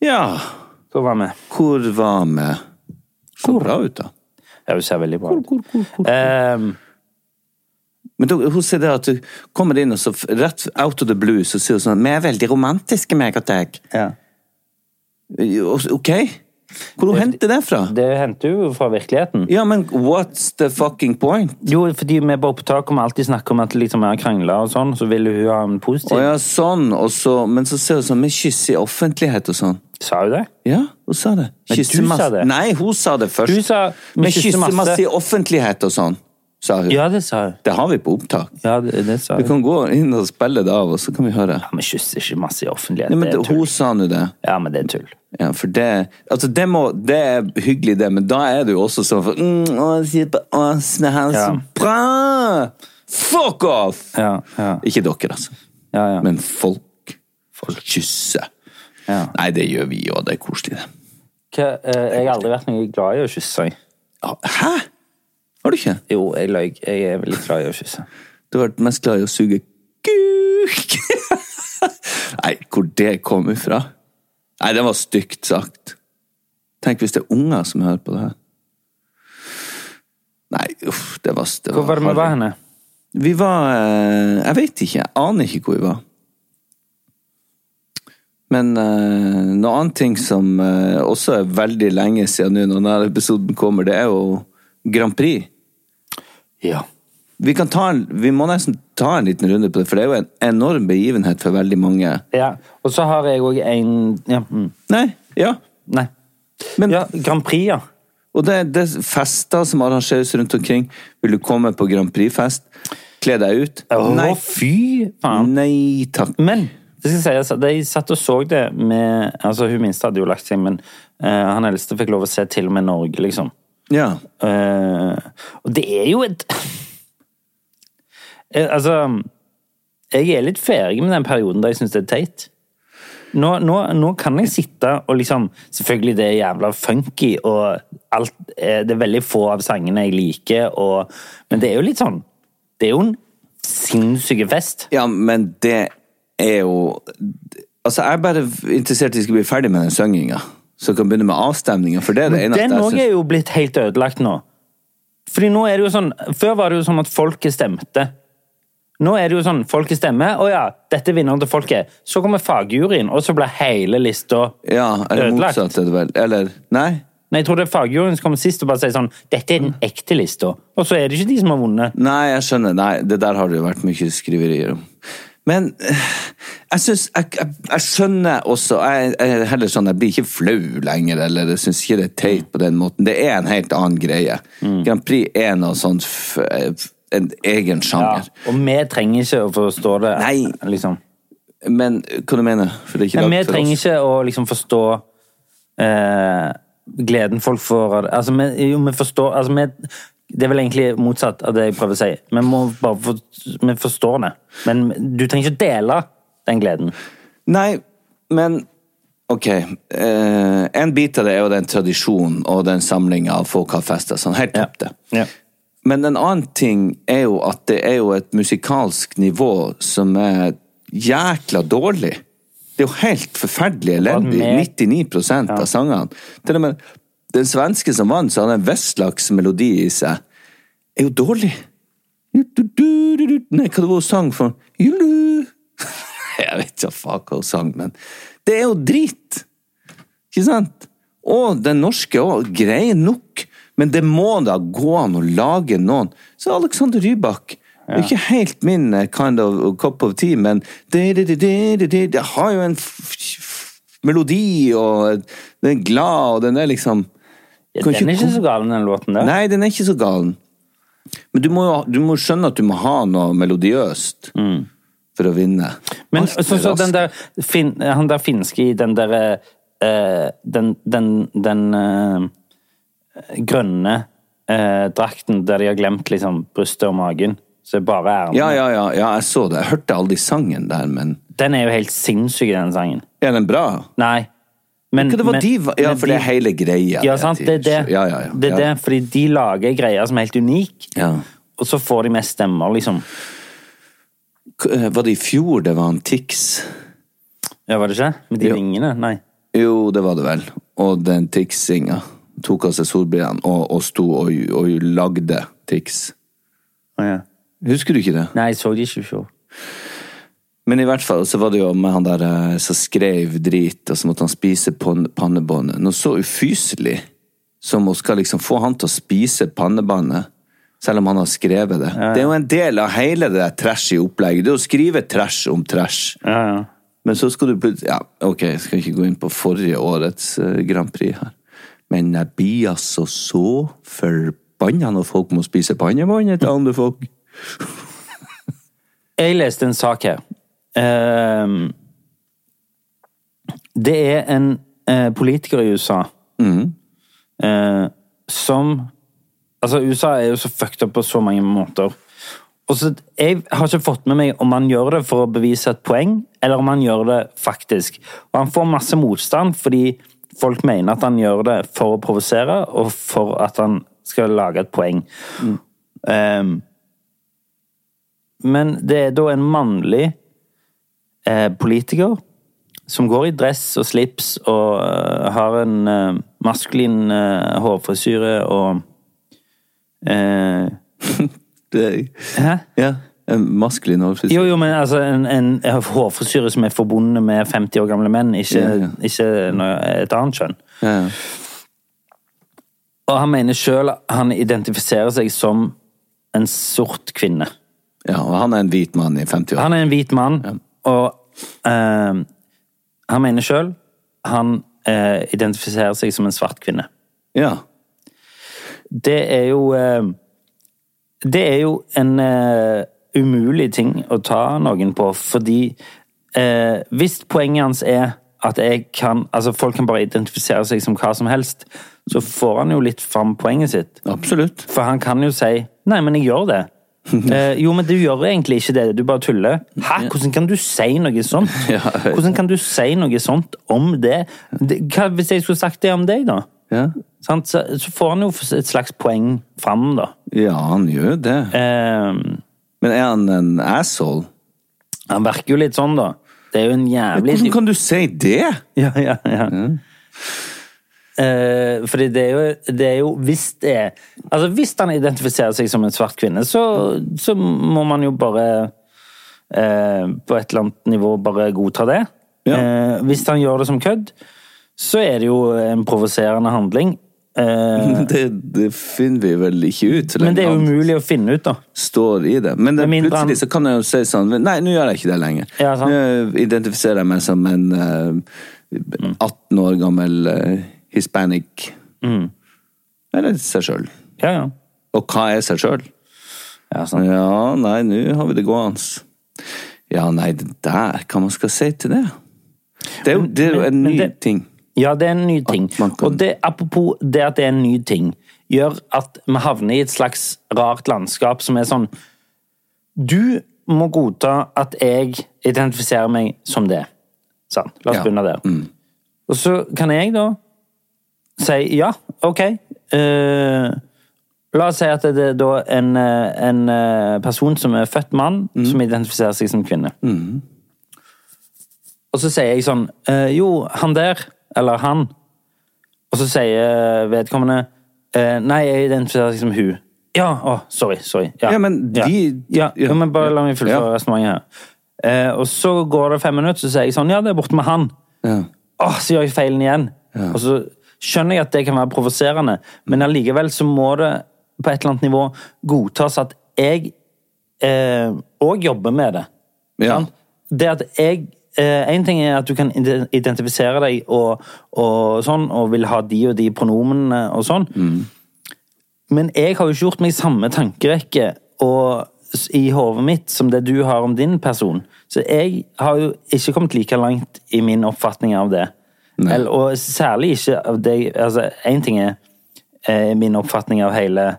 Speaker 3: Ja,
Speaker 2: Hvor var vi?
Speaker 3: hvor var vi? Så bra ut, da.
Speaker 2: Ja, hun ser veldig bra ut. Ehm,
Speaker 3: Men da, hun sier det at du kommer inn, og så f- rett out of the blue så sier hun sånn Vi er veldig romantiske, meg og deg.
Speaker 2: ja.
Speaker 3: Og så- Ok? Hvor hun henter det fra?
Speaker 2: Det henter jo fra virkeligheten.
Speaker 3: Ja, men what's the fucking point?
Speaker 2: Jo, fordi vi på opptak kommer alltid snakke om at liksom, vi har krangla og sånn, så ville hun ha en positiv
Speaker 3: Å ja, sånn, og så Men så ser hun sånn Vi kysser i offentlighet og sånn.
Speaker 2: Sa hun det?
Speaker 3: Ja, hun sa det.
Speaker 2: Men
Speaker 3: Kysser
Speaker 2: du
Speaker 3: masse-
Speaker 2: sa det.
Speaker 3: Nei, hun sa det først.
Speaker 2: Du sa, vi
Speaker 3: Men
Speaker 2: kysser
Speaker 3: kysser masse
Speaker 2: masse
Speaker 3: i offentlighet og sånn, sa hun.
Speaker 2: Ja, det sa hun.
Speaker 3: Det har vi på opptak.
Speaker 2: Ja, det, det sa
Speaker 3: Vi
Speaker 2: hun.
Speaker 3: kan gå inn og spille det av, og så kan vi høre.
Speaker 2: Ja, Vi kysser ikke masse i offentlighet.
Speaker 3: Nei, men
Speaker 2: det er
Speaker 3: det, hun
Speaker 2: tull.
Speaker 3: sa nå det.
Speaker 2: Ja, men det er tull.
Speaker 3: Ja, for det Altså, det, må, det er hyggelig, det, men da er det jo også sånn for, mm, å, si på oss med han så
Speaker 2: Ja.
Speaker 3: bra! Fuck off!
Speaker 2: Ja, ja.
Speaker 3: Ikke dere, altså.
Speaker 2: Ja, ja.
Speaker 3: Men folk. Folk kysser.
Speaker 2: Ja.
Speaker 3: Nei, det gjør vi jo, det er koselig, det.
Speaker 2: Hva, eh, jeg har aldri vært noe glad i å kysse. jeg.
Speaker 3: Ja, Hæ? Har du ikke?
Speaker 2: Jo, jeg løy. Jeg er veldig glad i å kysse.
Speaker 3: Du har vært mest glad i å suge kuk. Nei, hvor det kom ifra? Nei, det var stygt sagt. Tenk hvis det er unger som hører på det her. Nei, uff, det var det
Speaker 2: Hvor var det vi
Speaker 3: harry.
Speaker 2: var henne?
Speaker 3: Vi var eh, Jeg vet ikke. Jeg aner ikke hvor vi var. Men eh, noe annet ting som eh, også er veldig lenge siden nå, når denne episoden kommer, det er jo Grand Prix.
Speaker 2: Ja.
Speaker 3: Vi, kan ta en, vi må nesten ta en liten runde på det, for det er jo en enorm begivenhet for veldig mange.
Speaker 2: ja. Og så har jeg òg en ja. mm.
Speaker 3: Nei, ja.
Speaker 2: Nei.
Speaker 3: Men,
Speaker 2: Ja, Grand Prix, ja.
Speaker 3: Og det, det er fester som arrangeres rundt omkring. Vil du komme på Grand Prix-fest? Kle deg ut?
Speaker 2: Å,
Speaker 3: Nei.
Speaker 2: fy Mm. faen.
Speaker 3: Nei takk.
Speaker 2: Men det skal sies at jeg satt og så det med Altså, hun minste hadde jo lagt seg, men eh, han eldste fikk lov å se til og med Norge, liksom.
Speaker 3: Ja.
Speaker 2: Eh, og det er jo et Eh, Altså Jeg er litt ferdig med den perioden der jeg syns det er teit. Nå, nå, nå kan jeg sitte og liksom Selvfølgelig, det er jævla funky, og alt eh, Det er veldig få av sangene jeg liker, og Men det er jo litt sånn Det er jo en sinnssyk fest.
Speaker 3: Ja, men det er jo Altså, jeg er bare interessert i at vi skal bli ferdig med den synginga. Så vi kan begynne med avstemninga, for det er det eneste
Speaker 2: Den òg
Speaker 3: jeg
Speaker 2: er
Speaker 3: syns
Speaker 2: jo blitt helt ødelagt nå. Fordi nå er det jo sånn Før var det jo sånn at folket stemte. Nå er det jo sånn folket stemmer. Å ja, dette er vinneren til folket. Så kommer fagjuryen, og så blir hele lista
Speaker 3: Ja, eller
Speaker 2: ødelagt.
Speaker 3: motsatt, er det vel. Eller Nei?
Speaker 2: Nei, jeg tror det er fagjuryen som kommer sist og bare sier sånn Dette er den
Speaker 3: Mm.
Speaker 2: ekte lista. Og så er det ikke de som har vunnet.
Speaker 3: Nei, jeg skjønner. Nei, det der har det jo vært mye skriverier om. Men eh, jeg syns jeg, jeg, jeg skjønner også jeg, jeg er heller sånn, jeg blir ikke flau lenger, eller jeg syns ikke det er teit på den måten. Det er en helt annen greie.
Speaker 2: Mm.
Speaker 3: Grand Prix er noe sånt f- eh, En egen
Speaker 2: Ja,
Speaker 3: sjanger.
Speaker 2: og vi trenger ikke å forstå det.
Speaker 3: Nei.
Speaker 2: Liksom.
Speaker 3: Men eh, hva du mener For det er ikke
Speaker 2: Nei, vi
Speaker 3: lagd for
Speaker 2: trenger
Speaker 3: oss.
Speaker 2: ikke å liksom forstå eh, gleden folk får av det. Altså, vi, jo, vi forstår altså, vi, Det er vel egentlig motsatt av det jeg prøver å si. Vi må bare for, vi forstår det. Men du trenger ikke dele den gleden.
Speaker 3: Nei, men Ok. eh, en bit av det er jo den tradisjonen og den samlinga folk har festa. Sånn, helt topp, det.
Speaker 2: Ja.
Speaker 3: Men en annen ting er jo at det er jo et musikalsk nivå som er jækla dårlig. Det er jo helt forferdelig elendig.
Speaker 2: med-
Speaker 3: 99 av sangene. Til og med den svenske som vant, så hadde en vestlags melodi i seg, er jo dårlig. Nei, hva det var hun sang for? Julu. Jeg vet ikke faen hva hun sang, men det er jo drit! Ikke sant? Og den norske òg. Grei nok. Men det må da gå an å lage noen. Så Alexander Rybak Det er Ikke helt min eh, kind of cup of tea, men det, det, det, det, det, det, det har jo en f f melodi, og den er glad, og den er liksom
Speaker 2: Ja,
Speaker 3: Kan
Speaker 2: den er
Speaker 3: ikke
Speaker 2: ikke så gal, den låten der.
Speaker 3: Nei, den er ikke så galen. Men du må jo du må skjønne at du må ha noe melodiøst for å vinne.
Speaker 2: Mm. Men
Speaker 3: Alt er
Speaker 2: så, så den
Speaker 3: raskt.
Speaker 2: der, fin, han der finske i den derre eh, Den, den, den eh, grønne eh, drakten der de har glemt liksom brystet og magen, så er bare ermene
Speaker 3: ja, ja, ja, ja, jeg så det. Jeg hørte aldri sangen der, men
Speaker 2: Den er jo helt sinnssyk, den sangen.
Speaker 3: er den bra?
Speaker 2: Nei. Men,
Speaker 3: Hva det var
Speaker 2: Mm, men-
Speaker 3: de, va- ja,
Speaker 2: men
Speaker 3: for det er
Speaker 2: de-
Speaker 3: hele greia.
Speaker 2: Ja, sant. Det er det.
Speaker 3: Ja, ja, ja.
Speaker 2: Det er det, fordi de lager greier som er helt unik,
Speaker 3: Ja.
Speaker 2: og så får de mest stemmer, liksom.
Speaker 3: K- eh, Var det i fjor det var en Tix?
Speaker 2: Ja, var det ikke? Med de
Speaker 3: Jo.
Speaker 2: vingene? Nei.
Speaker 3: Jo, det var det vel. Og den Tix-singa tok av seg solbrillene og, og sto og, og lagde Tix.
Speaker 2: Å, ja.
Speaker 3: Husker du ikke det?
Speaker 2: Nei, jeg så de ikke i fjor.
Speaker 3: Men i hvert fall så var det jo med han der eh, som skrev drit, og så måtte han spise pon- pannebåndet. Noe så ufyselig som å skal liksom få han til å spise pannebåndet, selv om han har skrevet det. Det er jo en del av hele det der trash i opplegget. Det er å skrive trash om trash. Men så skal du plutselig Ja, ok, jeg skal ikke gå inn på forrige årets eh, Grand Prix her. Men jeg blir altså så forbanna når folk må spise pannebåndet til andre folk.
Speaker 2: Jeg leste en sak her. Ehm, det er en eh, politiker i USA eh, som Altså, USA er jo så fucked up på så mange måter. Og så, Jeg har ikke fått med meg om han gjør det for å bevise et poeng, eller om han gjør det faktisk. Og Han får masse motstand fordi folk mener at han gjør det for å provosere, og for at han skal lage et poeng. Ehm, men det er da en mannlig eh, politiker som går i dress og slips og eh, har en eh, maskulin eh, hårfrisyre og eh,
Speaker 3: Det,
Speaker 2: Hæ?
Speaker 3: ja, en maskulin overfrisyr.
Speaker 2: Jo, jo, men altså en, en hårfrisyre som er forbundet med 50 år gamle menn, ikke,
Speaker 3: Ja, ja.
Speaker 2: ikke noe, et annet kjønn.
Speaker 3: Ja, ja.
Speaker 2: Og han mener sjøl han identifiserer seg som en sort kvinne.
Speaker 3: Ja, og han er en hvit mann i 50 år.
Speaker 2: Han er en hvit mann, og eh, han mener sjøl han eh, identifiserer seg som en svart kvinne.
Speaker 3: Ja.
Speaker 2: Det er jo eh, Det er jo en eh, umulig ting å ta noen på, fordi eh, hvis poenget hans er at jeg kan, altså folk kan bare identifisere seg som hva som helst, så får han jo litt fram poenget sitt.
Speaker 3: Absolutt.
Speaker 2: For han kan jo si 'nei, men jeg gjør det'. Eh, jo, men du gjør egentlig ikke det, du bare tuller. Hæ, hvordan kan du si noe sånt? Hvordan kan du si noe sånt om det? det hva, hvis jeg skulle sagt det om deg, da?
Speaker 3: Ja.
Speaker 2: Sant? Så, så får han jo et slags poeng fram, da.
Speaker 3: ja, han gjør jo det.
Speaker 2: Eh,
Speaker 3: Men er han en asshole?
Speaker 2: han virker jo litt sånn, da. Det er jo en jævlig
Speaker 3: Hvordan kan du si det?!
Speaker 2: Ja, ja, ja.
Speaker 3: Mm.
Speaker 2: Eh, fordi det er, jo, det er jo Hvis det er Altså, hvis han identifiserer seg som en svart kvinne, så, så må man jo bare eh, På et eller annet nivå bare godta det.
Speaker 3: Ja.
Speaker 2: Eh, hvis han gjør det som kødd, så er det jo en provoserende handling. Eh,
Speaker 3: Det, det finner vi vel ikke ut, så
Speaker 2: men det
Speaker 3: lenge
Speaker 2: er jo
Speaker 3: han
Speaker 2: umulig å finne ut, da.
Speaker 3: står i det. Men det,
Speaker 2: Med mindre han-
Speaker 3: plutselig så kan jeg jo si sånn Nei, nå gjør jeg ikke det lenger.
Speaker 2: Ja, sant.
Speaker 3: Nå identifiserer jeg meg som en eh,
Speaker 2: Mm.
Speaker 3: 18 år gammel eh, hispanic.
Speaker 2: Mm.
Speaker 3: Eller seg sjøl.
Speaker 2: Ja, ja.
Speaker 3: Og hva er seg sjøl?
Speaker 2: ja sant.
Speaker 3: Ja, nei, nå har vi det gående. Ja, nei, det der, hva man skal si til det? Det er jo, det er jo en
Speaker 2: men
Speaker 3: ny
Speaker 2: det-
Speaker 3: ting.
Speaker 2: Ja, det er en ny ting.
Speaker 3: man kan-
Speaker 2: Og det, apropos det at det er en ny ting, gjør at vi havner i et slags rart landskap som er sånn Du må godta at jeg identifiserer meg som det. Sant? La oss
Speaker 3: Ja. Mm.
Speaker 2: begynne der. Og så kan jeg da si ja, ok. eh, La oss si at det er da en, eh, en eh, person som er født mann,
Speaker 3: Mhm.
Speaker 2: som identifiserer seg som kvinne. Og så sier jeg sånn eh, Jo, han der, eller han. Og så sier vedkommende eh, Nei, jeg identifiserer meg som hun. Ja, å, sorry, sorry. Ja,
Speaker 3: Ja, men de-
Speaker 2: ja.
Speaker 3: ja,
Speaker 2: ja, men bare la
Speaker 3: ja,
Speaker 2: meg fullføre
Speaker 3: ja.
Speaker 2: resonnementet her. Eh, og så går det fem minutter, så sier jeg sånn Ja, det er borte med han.
Speaker 3: Ja.
Speaker 2: Åh, så gjør jeg feilen igjen. Og så skjønner jeg at det kan være provoserende, men allikevel så må det på et eller annet nivå godtas at jeg eh, og jobber med det.
Speaker 3: Ja.
Speaker 2: sant? Det at jeg Én ting er at du kan ide- identifisere deg og, og sånn, og vil ha de og de pronomenene og sånn. Men jeg har jo ikke gjort meg samme tankerekke og, s- i hodet mitt som det du har om din person. Så jeg har jo ikke kommet like langt i min oppfatning av det. Eller, og særlig ikke av deg altså, Én ting er eh, min oppfatning av hele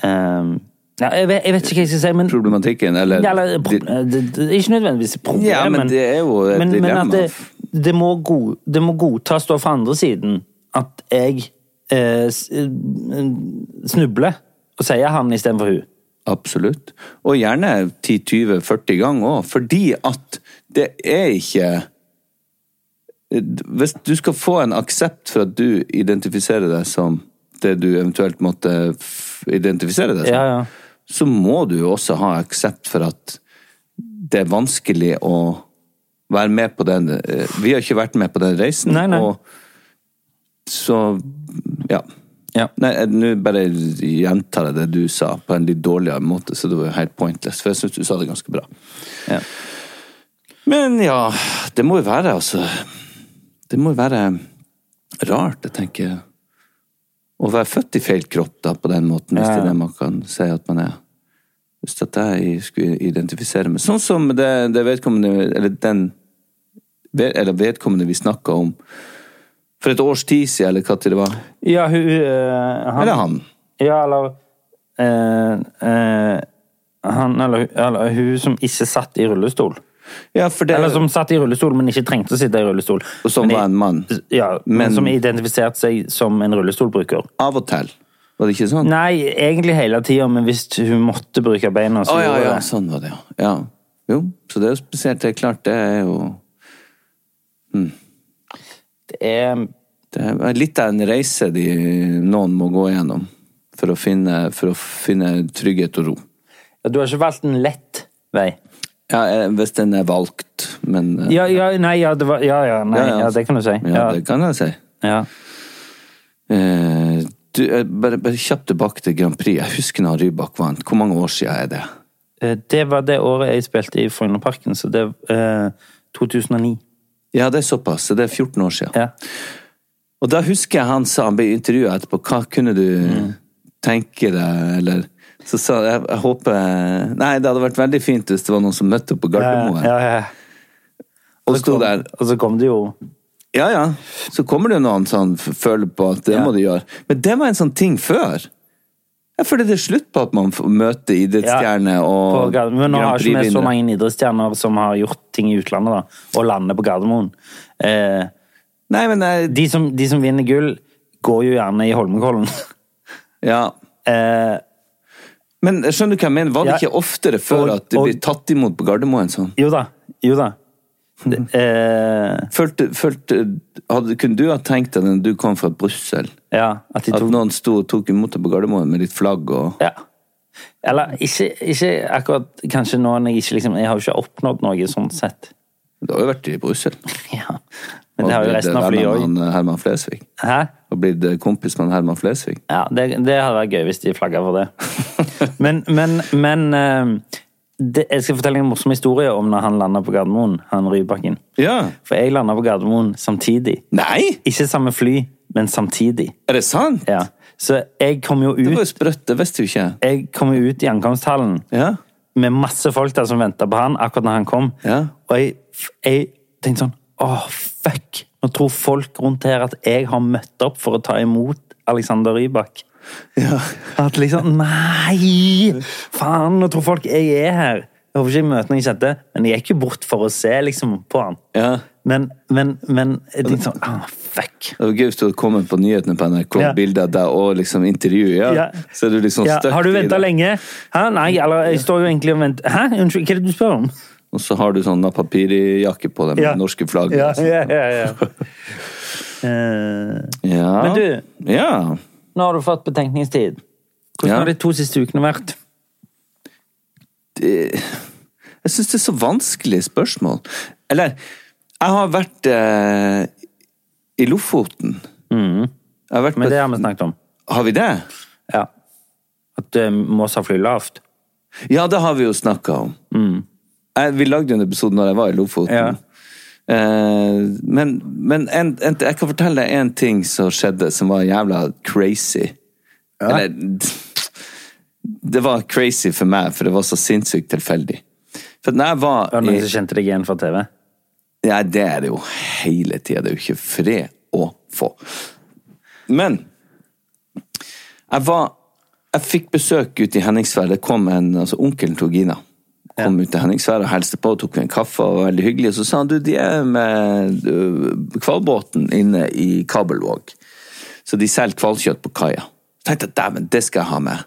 Speaker 2: eh, ja, jeg, vet, jeg vet ikke hva jeg skal si, men
Speaker 3: Problematikken, eller
Speaker 2: ja, eller, pro- eh, det, det, ikke nødvendigvis et problem,
Speaker 3: Ja, men det er jo et
Speaker 2: men,
Speaker 3: dilemma.
Speaker 2: Men at det, det, må god, det må godtas da fra andre siden at jeg eh, s- eh, snubler og sier han istedenfor hun.
Speaker 3: Absolutt. Og gjerne 10-20-40 ganger òg, fordi at det er ikke Hvis du skal få en aksept for at du identifiserer deg som det du eventuelt måtte f- identifisere deg som,
Speaker 2: Ja, ja.
Speaker 3: så må du jo også ha aksept for at det er vanskelig å være med på den eh, Vi har ikke vært med på den reisen,
Speaker 2: Nei, nei.
Speaker 3: og så Ja.
Speaker 2: Ja.
Speaker 3: Nei, eh, nå bare gjentar jeg det du sa, på en litt dårligere måte, så det var jo helt pointless, for jeg syns du sa det ganske bra.
Speaker 2: Ja.
Speaker 3: Men ja, det må jo være, altså Det må jo være rart, jeg tenker Å være født i feil kropp, da, på den måten, hvis det er det man kan si at man er. Hvis at jeg skulle identifisere meg Sånn som det, det vedkommende Eller den ved- Eller vedkommende vi snakka om for et års tid siden, eller hva til det var.
Speaker 2: Ja, hun eh, han,
Speaker 3: Eller han.
Speaker 2: Ja, eller eh, eh, Han eller, hun- eller hun som ikke satt i rullestol.
Speaker 3: Ja, for det
Speaker 2: Eller som satt i rullestol, men ikke trengte å sitte i rullestol.
Speaker 3: Og som
Speaker 2: Men i-
Speaker 3: var en mann.
Speaker 2: Ja, men
Speaker 3: Men-
Speaker 2: som identifiserte seg som en rullestolbruker.
Speaker 3: Av og til. Var det ikke sånn?
Speaker 2: Nei, egentlig hele tida, men hvis hun måtte bruke beina, så
Speaker 3: Å, ja,
Speaker 2: gjorde
Speaker 3: ja,
Speaker 2: hun det.
Speaker 3: sånn var det, ja. ja. Jo, så det er jo spesielt. Det er klart, det er jo
Speaker 2: det er,
Speaker 3: Det er litt av en reise de, noen må gå gjennom for å, finne, for å finne trygghet og ro.
Speaker 2: ja, Du har ikke valgt en lett vei?
Speaker 3: Ja, eh, hvis den er valgt, men eh,
Speaker 2: Ja, ja, nei, ja, det var, ja, ja, nei,
Speaker 3: Ja, ja.
Speaker 2: ja, det kan du si.
Speaker 3: ja, det kan jeg si.
Speaker 2: ja.
Speaker 3: Eh, Du, eh, bare, bare kjapt tilbake til Grand Prix. Jeg husker når Rybak vant. Hvor mange år siden er det?
Speaker 2: Eh, Det var det året jeg spilte i Frognerparken, så det eh, 2009.
Speaker 3: Ja, det er såpass. så Det er 14 år siden.
Speaker 2: Ja.
Speaker 3: Og da husker jeg han sa, han ble intervjua etterpå, hva kunne du
Speaker 2: Mm.
Speaker 3: tenke deg, eller Så sa jeg, jeg håper Nei, det hadde vært veldig fint hvis det var noen som møtte opp på Gardermoen.
Speaker 2: Ja, ja, ja.
Speaker 3: Og sto
Speaker 2: kom-
Speaker 3: der.
Speaker 2: Og så kom det jo
Speaker 3: Ja, ja. Så kommer det jo noen som f- føler på at det
Speaker 2: Ja.
Speaker 3: må du gjøre. Men det var en sånn ting før. Jeg føler det er slutt på at man f- møter idrettsstjerner
Speaker 2: på
Speaker 3: og
Speaker 2: Gardermoen. Men nå har ikke vi så
Speaker 3: Prix-vinnere.
Speaker 2: mange idrettsstjerner som har gjort ting i utlandet, da, og lander på Gardermoen. Eh,
Speaker 3: Nei, men eh, jeg,
Speaker 2: de, som, de som vinner gull, går jo gjerne i Holmenkollen.
Speaker 3: ja.
Speaker 2: eh,
Speaker 3: Men skjønner du hva jeg mener? Var det
Speaker 2: Ja.
Speaker 3: ikke oftere
Speaker 2: Og-
Speaker 3: før at det
Speaker 2: og-
Speaker 3: blir tatt imot på Gardermoen sånn?
Speaker 2: Jo da. Jo da. Det, eh,
Speaker 3: Følte, følte, hadde, kunne du ha tenkt deg når du kom fra Brussel,
Speaker 2: ja, at de
Speaker 3: at
Speaker 2: tok
Speaker 3: noen sto og tok imot deg på Gardermoen med litt flagg og
Speaker 2: ja. Eller ikke, ikke akkurat kanskje nå når jeg ikke liksom Jeg har jo ikke oppnådd noe sånn sett.
Speaker 3: Du har jo vært i Brussel.
Speaker 2: Ja. Men det har jo
Speaker 3: Og blitt
Speaker 2: resten av
Speaker 3: venner
Speaker 2: flyet
Speaker 3: med
Speaker 2: òg.
Speaker 3: han, eh, Herman Flesvig.
Speaker 2: Hæ?
Speaker 3: Og blitt eh, kompis med han Herman Flesvig.
Speaker 2: Ja, det, det hadde vært gøy hvis de flagga for det. Men, men, men eh, det, Jeg skal fortelle en morsom historie om når han landa på Gardermoen, han Rybakken.
Speaker 3: Ja.
Speaker 2: For jeg landa på Gardermoen samtidig.
Speaker 3: Nei!
Speaker 2: Ikke samme fly, men samtidig.
Speaker 3: Er det sant?
Speaker 2: Ja. Så jeg kom jo
Speaker 3: Det var jo
Speaker 2: ut,
Speaker 3: sprøtt, det visste jo ikke jeg.
Speaker 2: jeg kom jo ut i ankomsthallen.
Speaker 3: Ja.
Speaker 2: med masse folk der som venta på han akkurat når han kom.
Speaker 3: Ja.
Speaker 2: Og jeg, jeg tenkte sånn Åh, fuck! Nå tror folk rundt her at jeg har møtt opp for å ta imot Alexander Rybak. At liksom Nei! Faen, nå tror folk jeg er her. Jeg håper ikke jeg møter noen jeg kjente, men jeg gikk jo bort for å se liksom, på han.
Speaker 3: Ja.
Speaker 2: Men, men, men jeg tenkte sånn ah, Fuck!
Speaker 3: Det var gøy hvis du hadde kommet på nyhetene på NRK,
Speaker 2: Ja.
Speaker 3: bilder av deg og liksom intervju. Ja.
Speaker 2: Ja.
Speaker 3: Så er du liksom
Speaker 2: Ja,
Speaker 3: støkk
Speaker 2: har du
Speaker 3: i
Speaker 2: venta
Speaker 3: det.
Speaker 2: lenge? Hæ? Nei, eller jeg står jo egentlig og venter Hæ? Unnskyld, hva er det du spør om?
Speaker 3: Og så har du sånn papirjakke på deg med
Speaker 2: Ja.
Speaker 3: norske flagg.
Speaker 2: Ja,
Speaker 3: og sånn.
Speaker 2: ja, ja, ja. Eh,
Speaker 3: ja.
Speaker 2: Men du-
Speaker 3: Ja.
Speaker 2: Nå har du fått betenkningstid. Hvordan
Speaker 3: Ja.
Speaker 2: har de to siste ukene vært?
Speaker 3: det, Jeg syns det er så vanskelige spørsmål. Eller Jeg har vært eh, i Lofoten. Jeg har,
Speaker 2: Mm.
Speaker 3: vært
Speaker 2: Men
Speaker 3: på,
Speaker 2: det har vi snakket om.
Speaker 3: har vi det?
Speaker 2: Ja. At du må ha fly eh, lavt.
Speaker 3: Ja, det har vi jo snakka om. Jeg, vi lagde jo en episode når jeg var i Lofoten.
Speaker 2: Mm. Ja.
Speaker 3: Eh, men men en, en, jeg kan fortelle deg én ting som skjedde som var jævla crazy. Eller Det var crazy for meg, for det var så sinnssykt tilfeldig. For når jeg var
Speaker 2: Var det
Speaker 3: i-
Speaker 2: noen som kjente deg igjen fra TV?
Speaker 3: Nei, det er det jo hele tida. Det er jo ikke fred å få. Men jeg var Jeg fikk besøk ute i Henningsvær. Det kom en altså Onkelen til Gina kom ut til Henningsvær og hilste på og tok en kaffe. og var veldig hyggelig. Og så sa han du, de er med ø, hvalbåten inne i Kabelvåg. Så de selger hvalkjøtt på kaia. Så tenkte jeg dæven, det skal jeg ha med.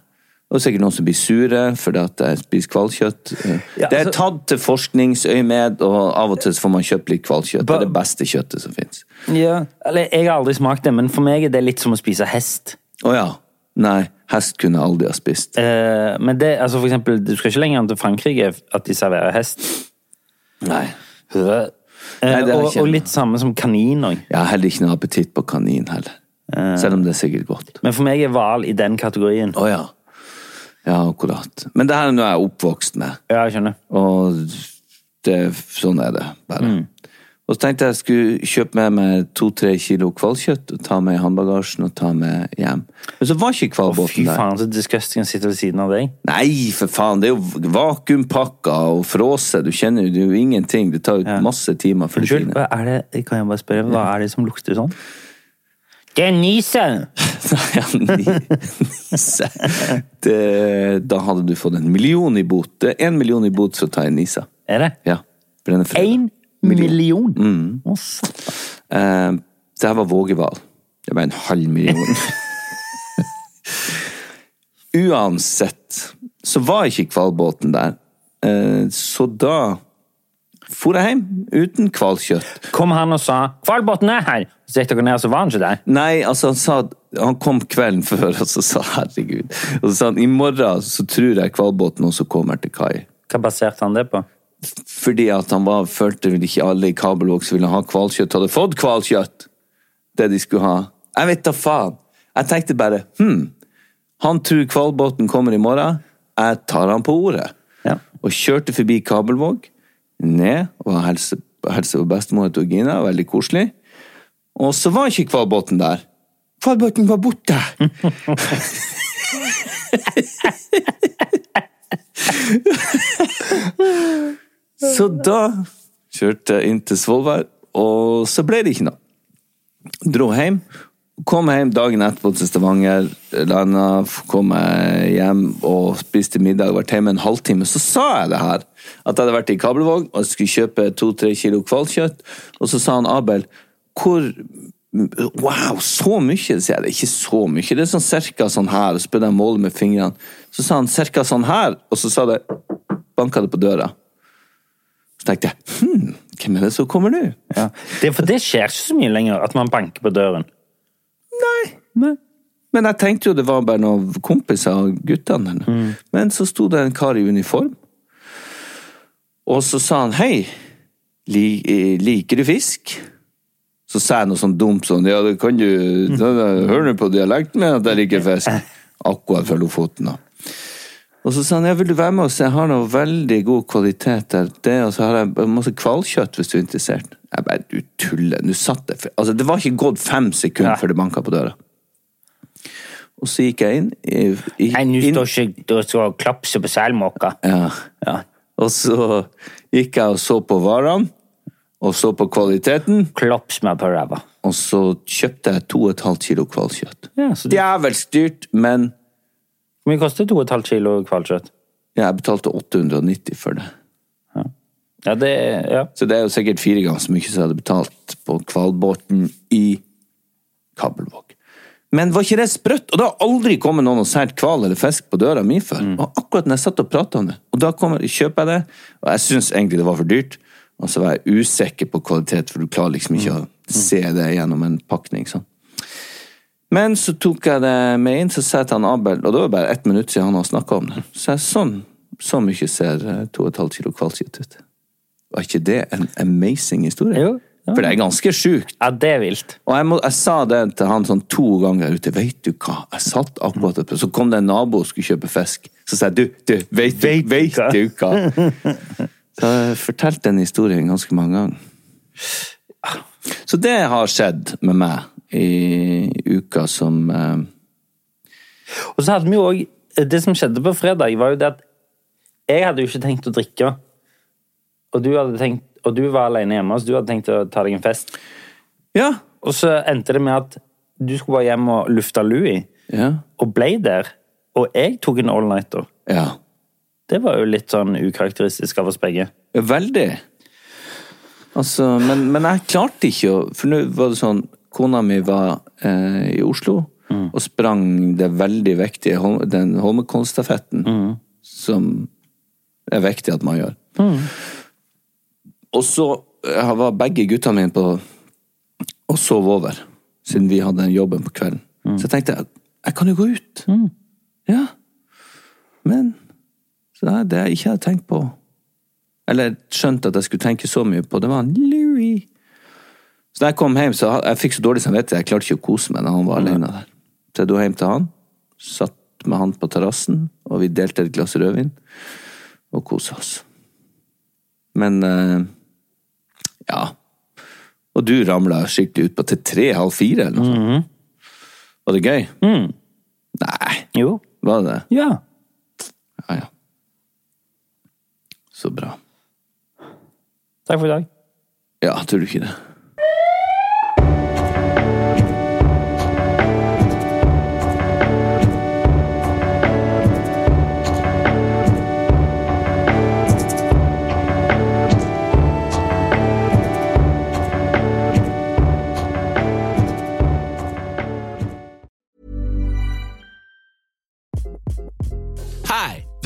Speaker 3: Og sikkert noen som blir sure fordi at jeg spiser hvalkjøtt.
Speaker 2: Ja,
Speaker 3: det er
Speaker 2: altså-
Speaker 3: tatt til forskningsøyemed, og av og til så får man kjøpt litt hvalkjøtt. Det er det beste kjøttet som fins.
Speaker 2: Ja. Eller, jeg har aldri smakt det, men for meg er det litt som å spise hest.
Speaker 3: Å ja. Nei, hest kunne jeg aldri ha spist.
Speaker 2: Eh, men det, altså for eksempel, du skal ikke lenger enn til Frankrike at de serverer hest.
Speaker 3: Nei.
Speaker 2: Eh,
Speaker 3: Nei, det er
Speaker 2: og,
Speaker 3: ikke-
Speaker 2: og litt samme som kanin òg.
Speaker 3: Jeg har heller ikke noe appetitt på kanin heller.
Speaker 2: Eh.
Speaker 3: Selv om det er sikkert godt.
Speaker 2: Men for meg er hval i den kategorien.
Speaker 3: Å ja. Ja, akkurat. Men det her er noe jeg er oppvokst med.
Speaker 2: Ja, jeg skjønner.
Speaker 3: Og det, sånn er det bare.
Speaker 2: Mm.
Speaker 3: Og så tenkte jeg jeg skulle kjøpe med meg to-tre kilo hvalkjøtt og ta med i håndbagasjen og ta med hjem. Men så var
Speaker 2: Å,
Speaker 3: ikke
Speaker 2: fy
Speaker 3: hvalbåten der.
Speaker 2: faen, så disgusting å sitte ved siden av deg.
Speaker 3: Nei, for faen, det er jo vakuumpakka og frose. Du kjenner jo, det er jo ingenting. Det tar jo masse timer før det
Speaker 2: Unnskyld,
Speaker 3: tiner.
Speaker 2: hva er det, kan jeg bare spørre, hva er det som lukter sånn? Det er nisen!
Speaker 3: Nei, ni- Nisse. Det, da hadde du fått en million i bot. Det er en million i bot for å ta en Nisa.
Speaker 2: Er det?
Speaker 3: Ja. for den er fredag.
Speaker 2: Én million? Mm. Å, satan.
Speaker 3: Eh, det her var vågeval. Det var en halv million. Uansett så var ikke hvalbåten der. Eh, så da for jeg hjem uten hvalkjøtt.
Speaker 2: Kom han og sa 'Hvalbotn er her!' Så gikk dere ned, og så var han ikke der.
Speaker 3: Nei, altså han sa Han kom kvelden før, og så sa herregud. Og så sa han i morgen så tror jeg hvalbåten også kommer til kai.
Speaker 2: Hva baserte han det på?
Speaker 3: Fordi at han var, følte vel ikke alle i Kabelvåg som ville ha hvalkjøtt, hadde fått hvalkjøtt! Det de skulle ha. Jeg vet da faen! Jeg tenkte bare hm, han tror hvalbåten kommer i morgen, jeg tar han på ordet.
Speaker 2: Ja.
Speaker 3: Og kjørte forbi Kabelvåg, ned, og helse, helse på bestemor til Gina, veldig koselig. Og så var ikke hvalbåten der. Hvalbåten var borte! Så da kjørte jeg inn til Svolvær, og så ble det ikke noe. Dro hjem. Kom hjem dagen etterpå til Stavanger, landa, kom jeg hjem og spiste middag. Vært hjemme en halvtime. Så sa jeg det her, at jeg hadde vært i Kabelvåg og jeg skulle kjøpe to-tre kilo hvalkjøtt. Og så sa han Abel hvor Wow, så mye! sier jeg. Det er ikke så mye. Det er sånn cirka sånn her. Og så begynte jeg å måle med fingrene. Så sa han cirka sånn her, og så sa det Banka det på døra. Så tenkte jeg hm, hvem er det som kommer nå?
Speaker 2: Ja. Det, for det skjer ikke så mye lenger, at man banker på døren.
Speaker 3: Men jeg tenkte jo det var bare noen kompiser av guttene. der. Men så sto det en kar i uniform, og så sa han hei, li, eh, liker du fisk? Så sa jeg noe sånn dumt sånn, ja, det kan du, da, da, hører du på dialekten min at jeg liker fisk? Akkurat fra Lofoten da. Og så sa han, ja, vil du være med oss? Jeg har noe veldig god kvalitet der. Det, og så har jeg masse kvalkjøtt hvis du er interessert. Jeg bare, du tuller, du satt det. for- Altså, det var ikke gått fem sekunder
Speaker 2: Ja.
Speaker 3: før det banket på døra. Og så gikk jeg inn. I, i,
Speaker 2: Nei, nå
Speaker 3: inn-
Speaker 2: står ikke du skal klapse på selmåka.
Speaker 3: Ah, ja. Og så gikk jeg og så på varene, og så på kvaliteten,
Speaker 2: Klops meg på ræva.
Speaker 3: og så kjøpte jeg 2,5 kilo kvalkjøtt.
Speaker 2: Ja, så det-
Speaker 3: Djevelsk dyrt, men
Speaker 2: Hvor mye koster 2,5 kilo hvalkjøtt?
Speaker 3: ja, jeg betalte 890 for det.
Speaker 2: Ja, det er- ja.
Speaker 3: Så det er jo sikkert fire ganger så mye som jeg hadde betalt på hvalbåten i Kabelvåg. Men var ikke det sprøtt? Og det har aldri kommet noen og solgt hval eller fisk på døra mi før.
Speaker 2: Mm.
Speaker 3: Og akkurat når jeg satt og prata om det, og da kommer, kjøper jeg det, og jeg syns egentlig det var for dyrt, og så var jeg usikker på kvalitet, for du klarer liksom ikke
Speaker 2: Mm.
Speaker 3: å se det gjennom en pakning. Sånn. Men så tok jeg det med inn, så sa jeg til han Abel, og det var bare ett minutt siden han har snakka om det, så jeg sånn, så mye ser eh, 2,5 kilo hvalkjøtt ut. Var ikke det en amazing historie?
Speaker 2: Jo, ja.
Speaker 3: For det er ganske sjukt.
Speaker 2: ja, det er vilt.
Speaker 3: Og jeg, må, jeg sa det til han sånn to ganger ute. Vet du hva? Jeg satt akkurat oppe, så kom det en nabo og skulle kjøpe fisk. Så sa jeg, du, du, veit du, veit du hva? Så jeg fortalte den historien ganske mange ganger. Så det har skjedd med meg i uka som eh,
Speaker 2: Og så hadde vi jo òg Det som skjedde på fredag, var jo det at jeg hadde jo ikke tenkt å drikke. Og du, hadde tenkt, og du var alene hjemme, så du hadde tenkt å ta deg en fest.
Speaker 3: Ja.
Speaker 2: Og så endte det med at du skulle bare hjem og lufte Louie,
Speaker 3: Ja.
Speaker 2: og ble der. Og jeg tok en all-nighter.
Speaker 3: Ja.
Speaker 2: Det var jo litt sånn ukarakteristisk av oss begge.
Speaker 3: Veldig. Altså, men, men jeg klarte ikke å For nå var det sånn Kona mi var eh, i Oslo og sprang det veldig viktige Hol- den Holmenkollstafetten, som er viktig at man gjør. Og så eh, var begge guttene mine på og sov over, siden vi hadde den jobben på kvelden. Så jeg tenkte jeg, jeg kan jo gå ut. Ja. Men så nei, det jeg ikke hadde tenkt på eller skjønt at jeg skulle tenke så mye på, det var han Louis. Så da jeg kom hjem, så ha- jeg fikk så dårlig samvittighet, jeg klarte ikke å kose meg da han var alene der. Så jeg dro hjem til han, satt med han på terrassen, og vi delte et glass rødvin, og kosa oss. Men eh, ja. Og du ramla skikkelig utpå til tre-halv fire, eller noe sånt. Var det gøy? Nei,
Speaker 2: Jo.
Speaker 3: var det det?
Speaker 2: Ja.
Speaker 3: Ja, ja. Så bra.
Speaker 2: Takk for i dag.
Speaker 3: Ja, tror du ikke det?
Speaker 5: Hi,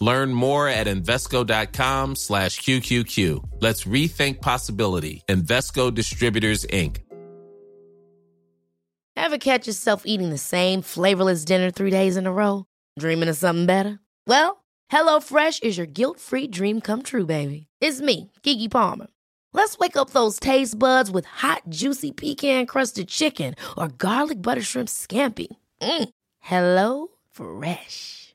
Speaker 5: Learn more at Invesco.com slash QQQ. Let's rethink possibility. Invesco Distributors, Inc.
Speaker 6: Ever catch yourself eating the same flavorless dinner three days in a row? Dreaming of something better? Well, HelloFresh is your guilt-free dream come true, baby. It's me, Gigi Palmer. Let's wake up those taste buds with hot, juicy pecan-crusted chicken or garlic butter shrimp scampi. Mm. Hello Fresh.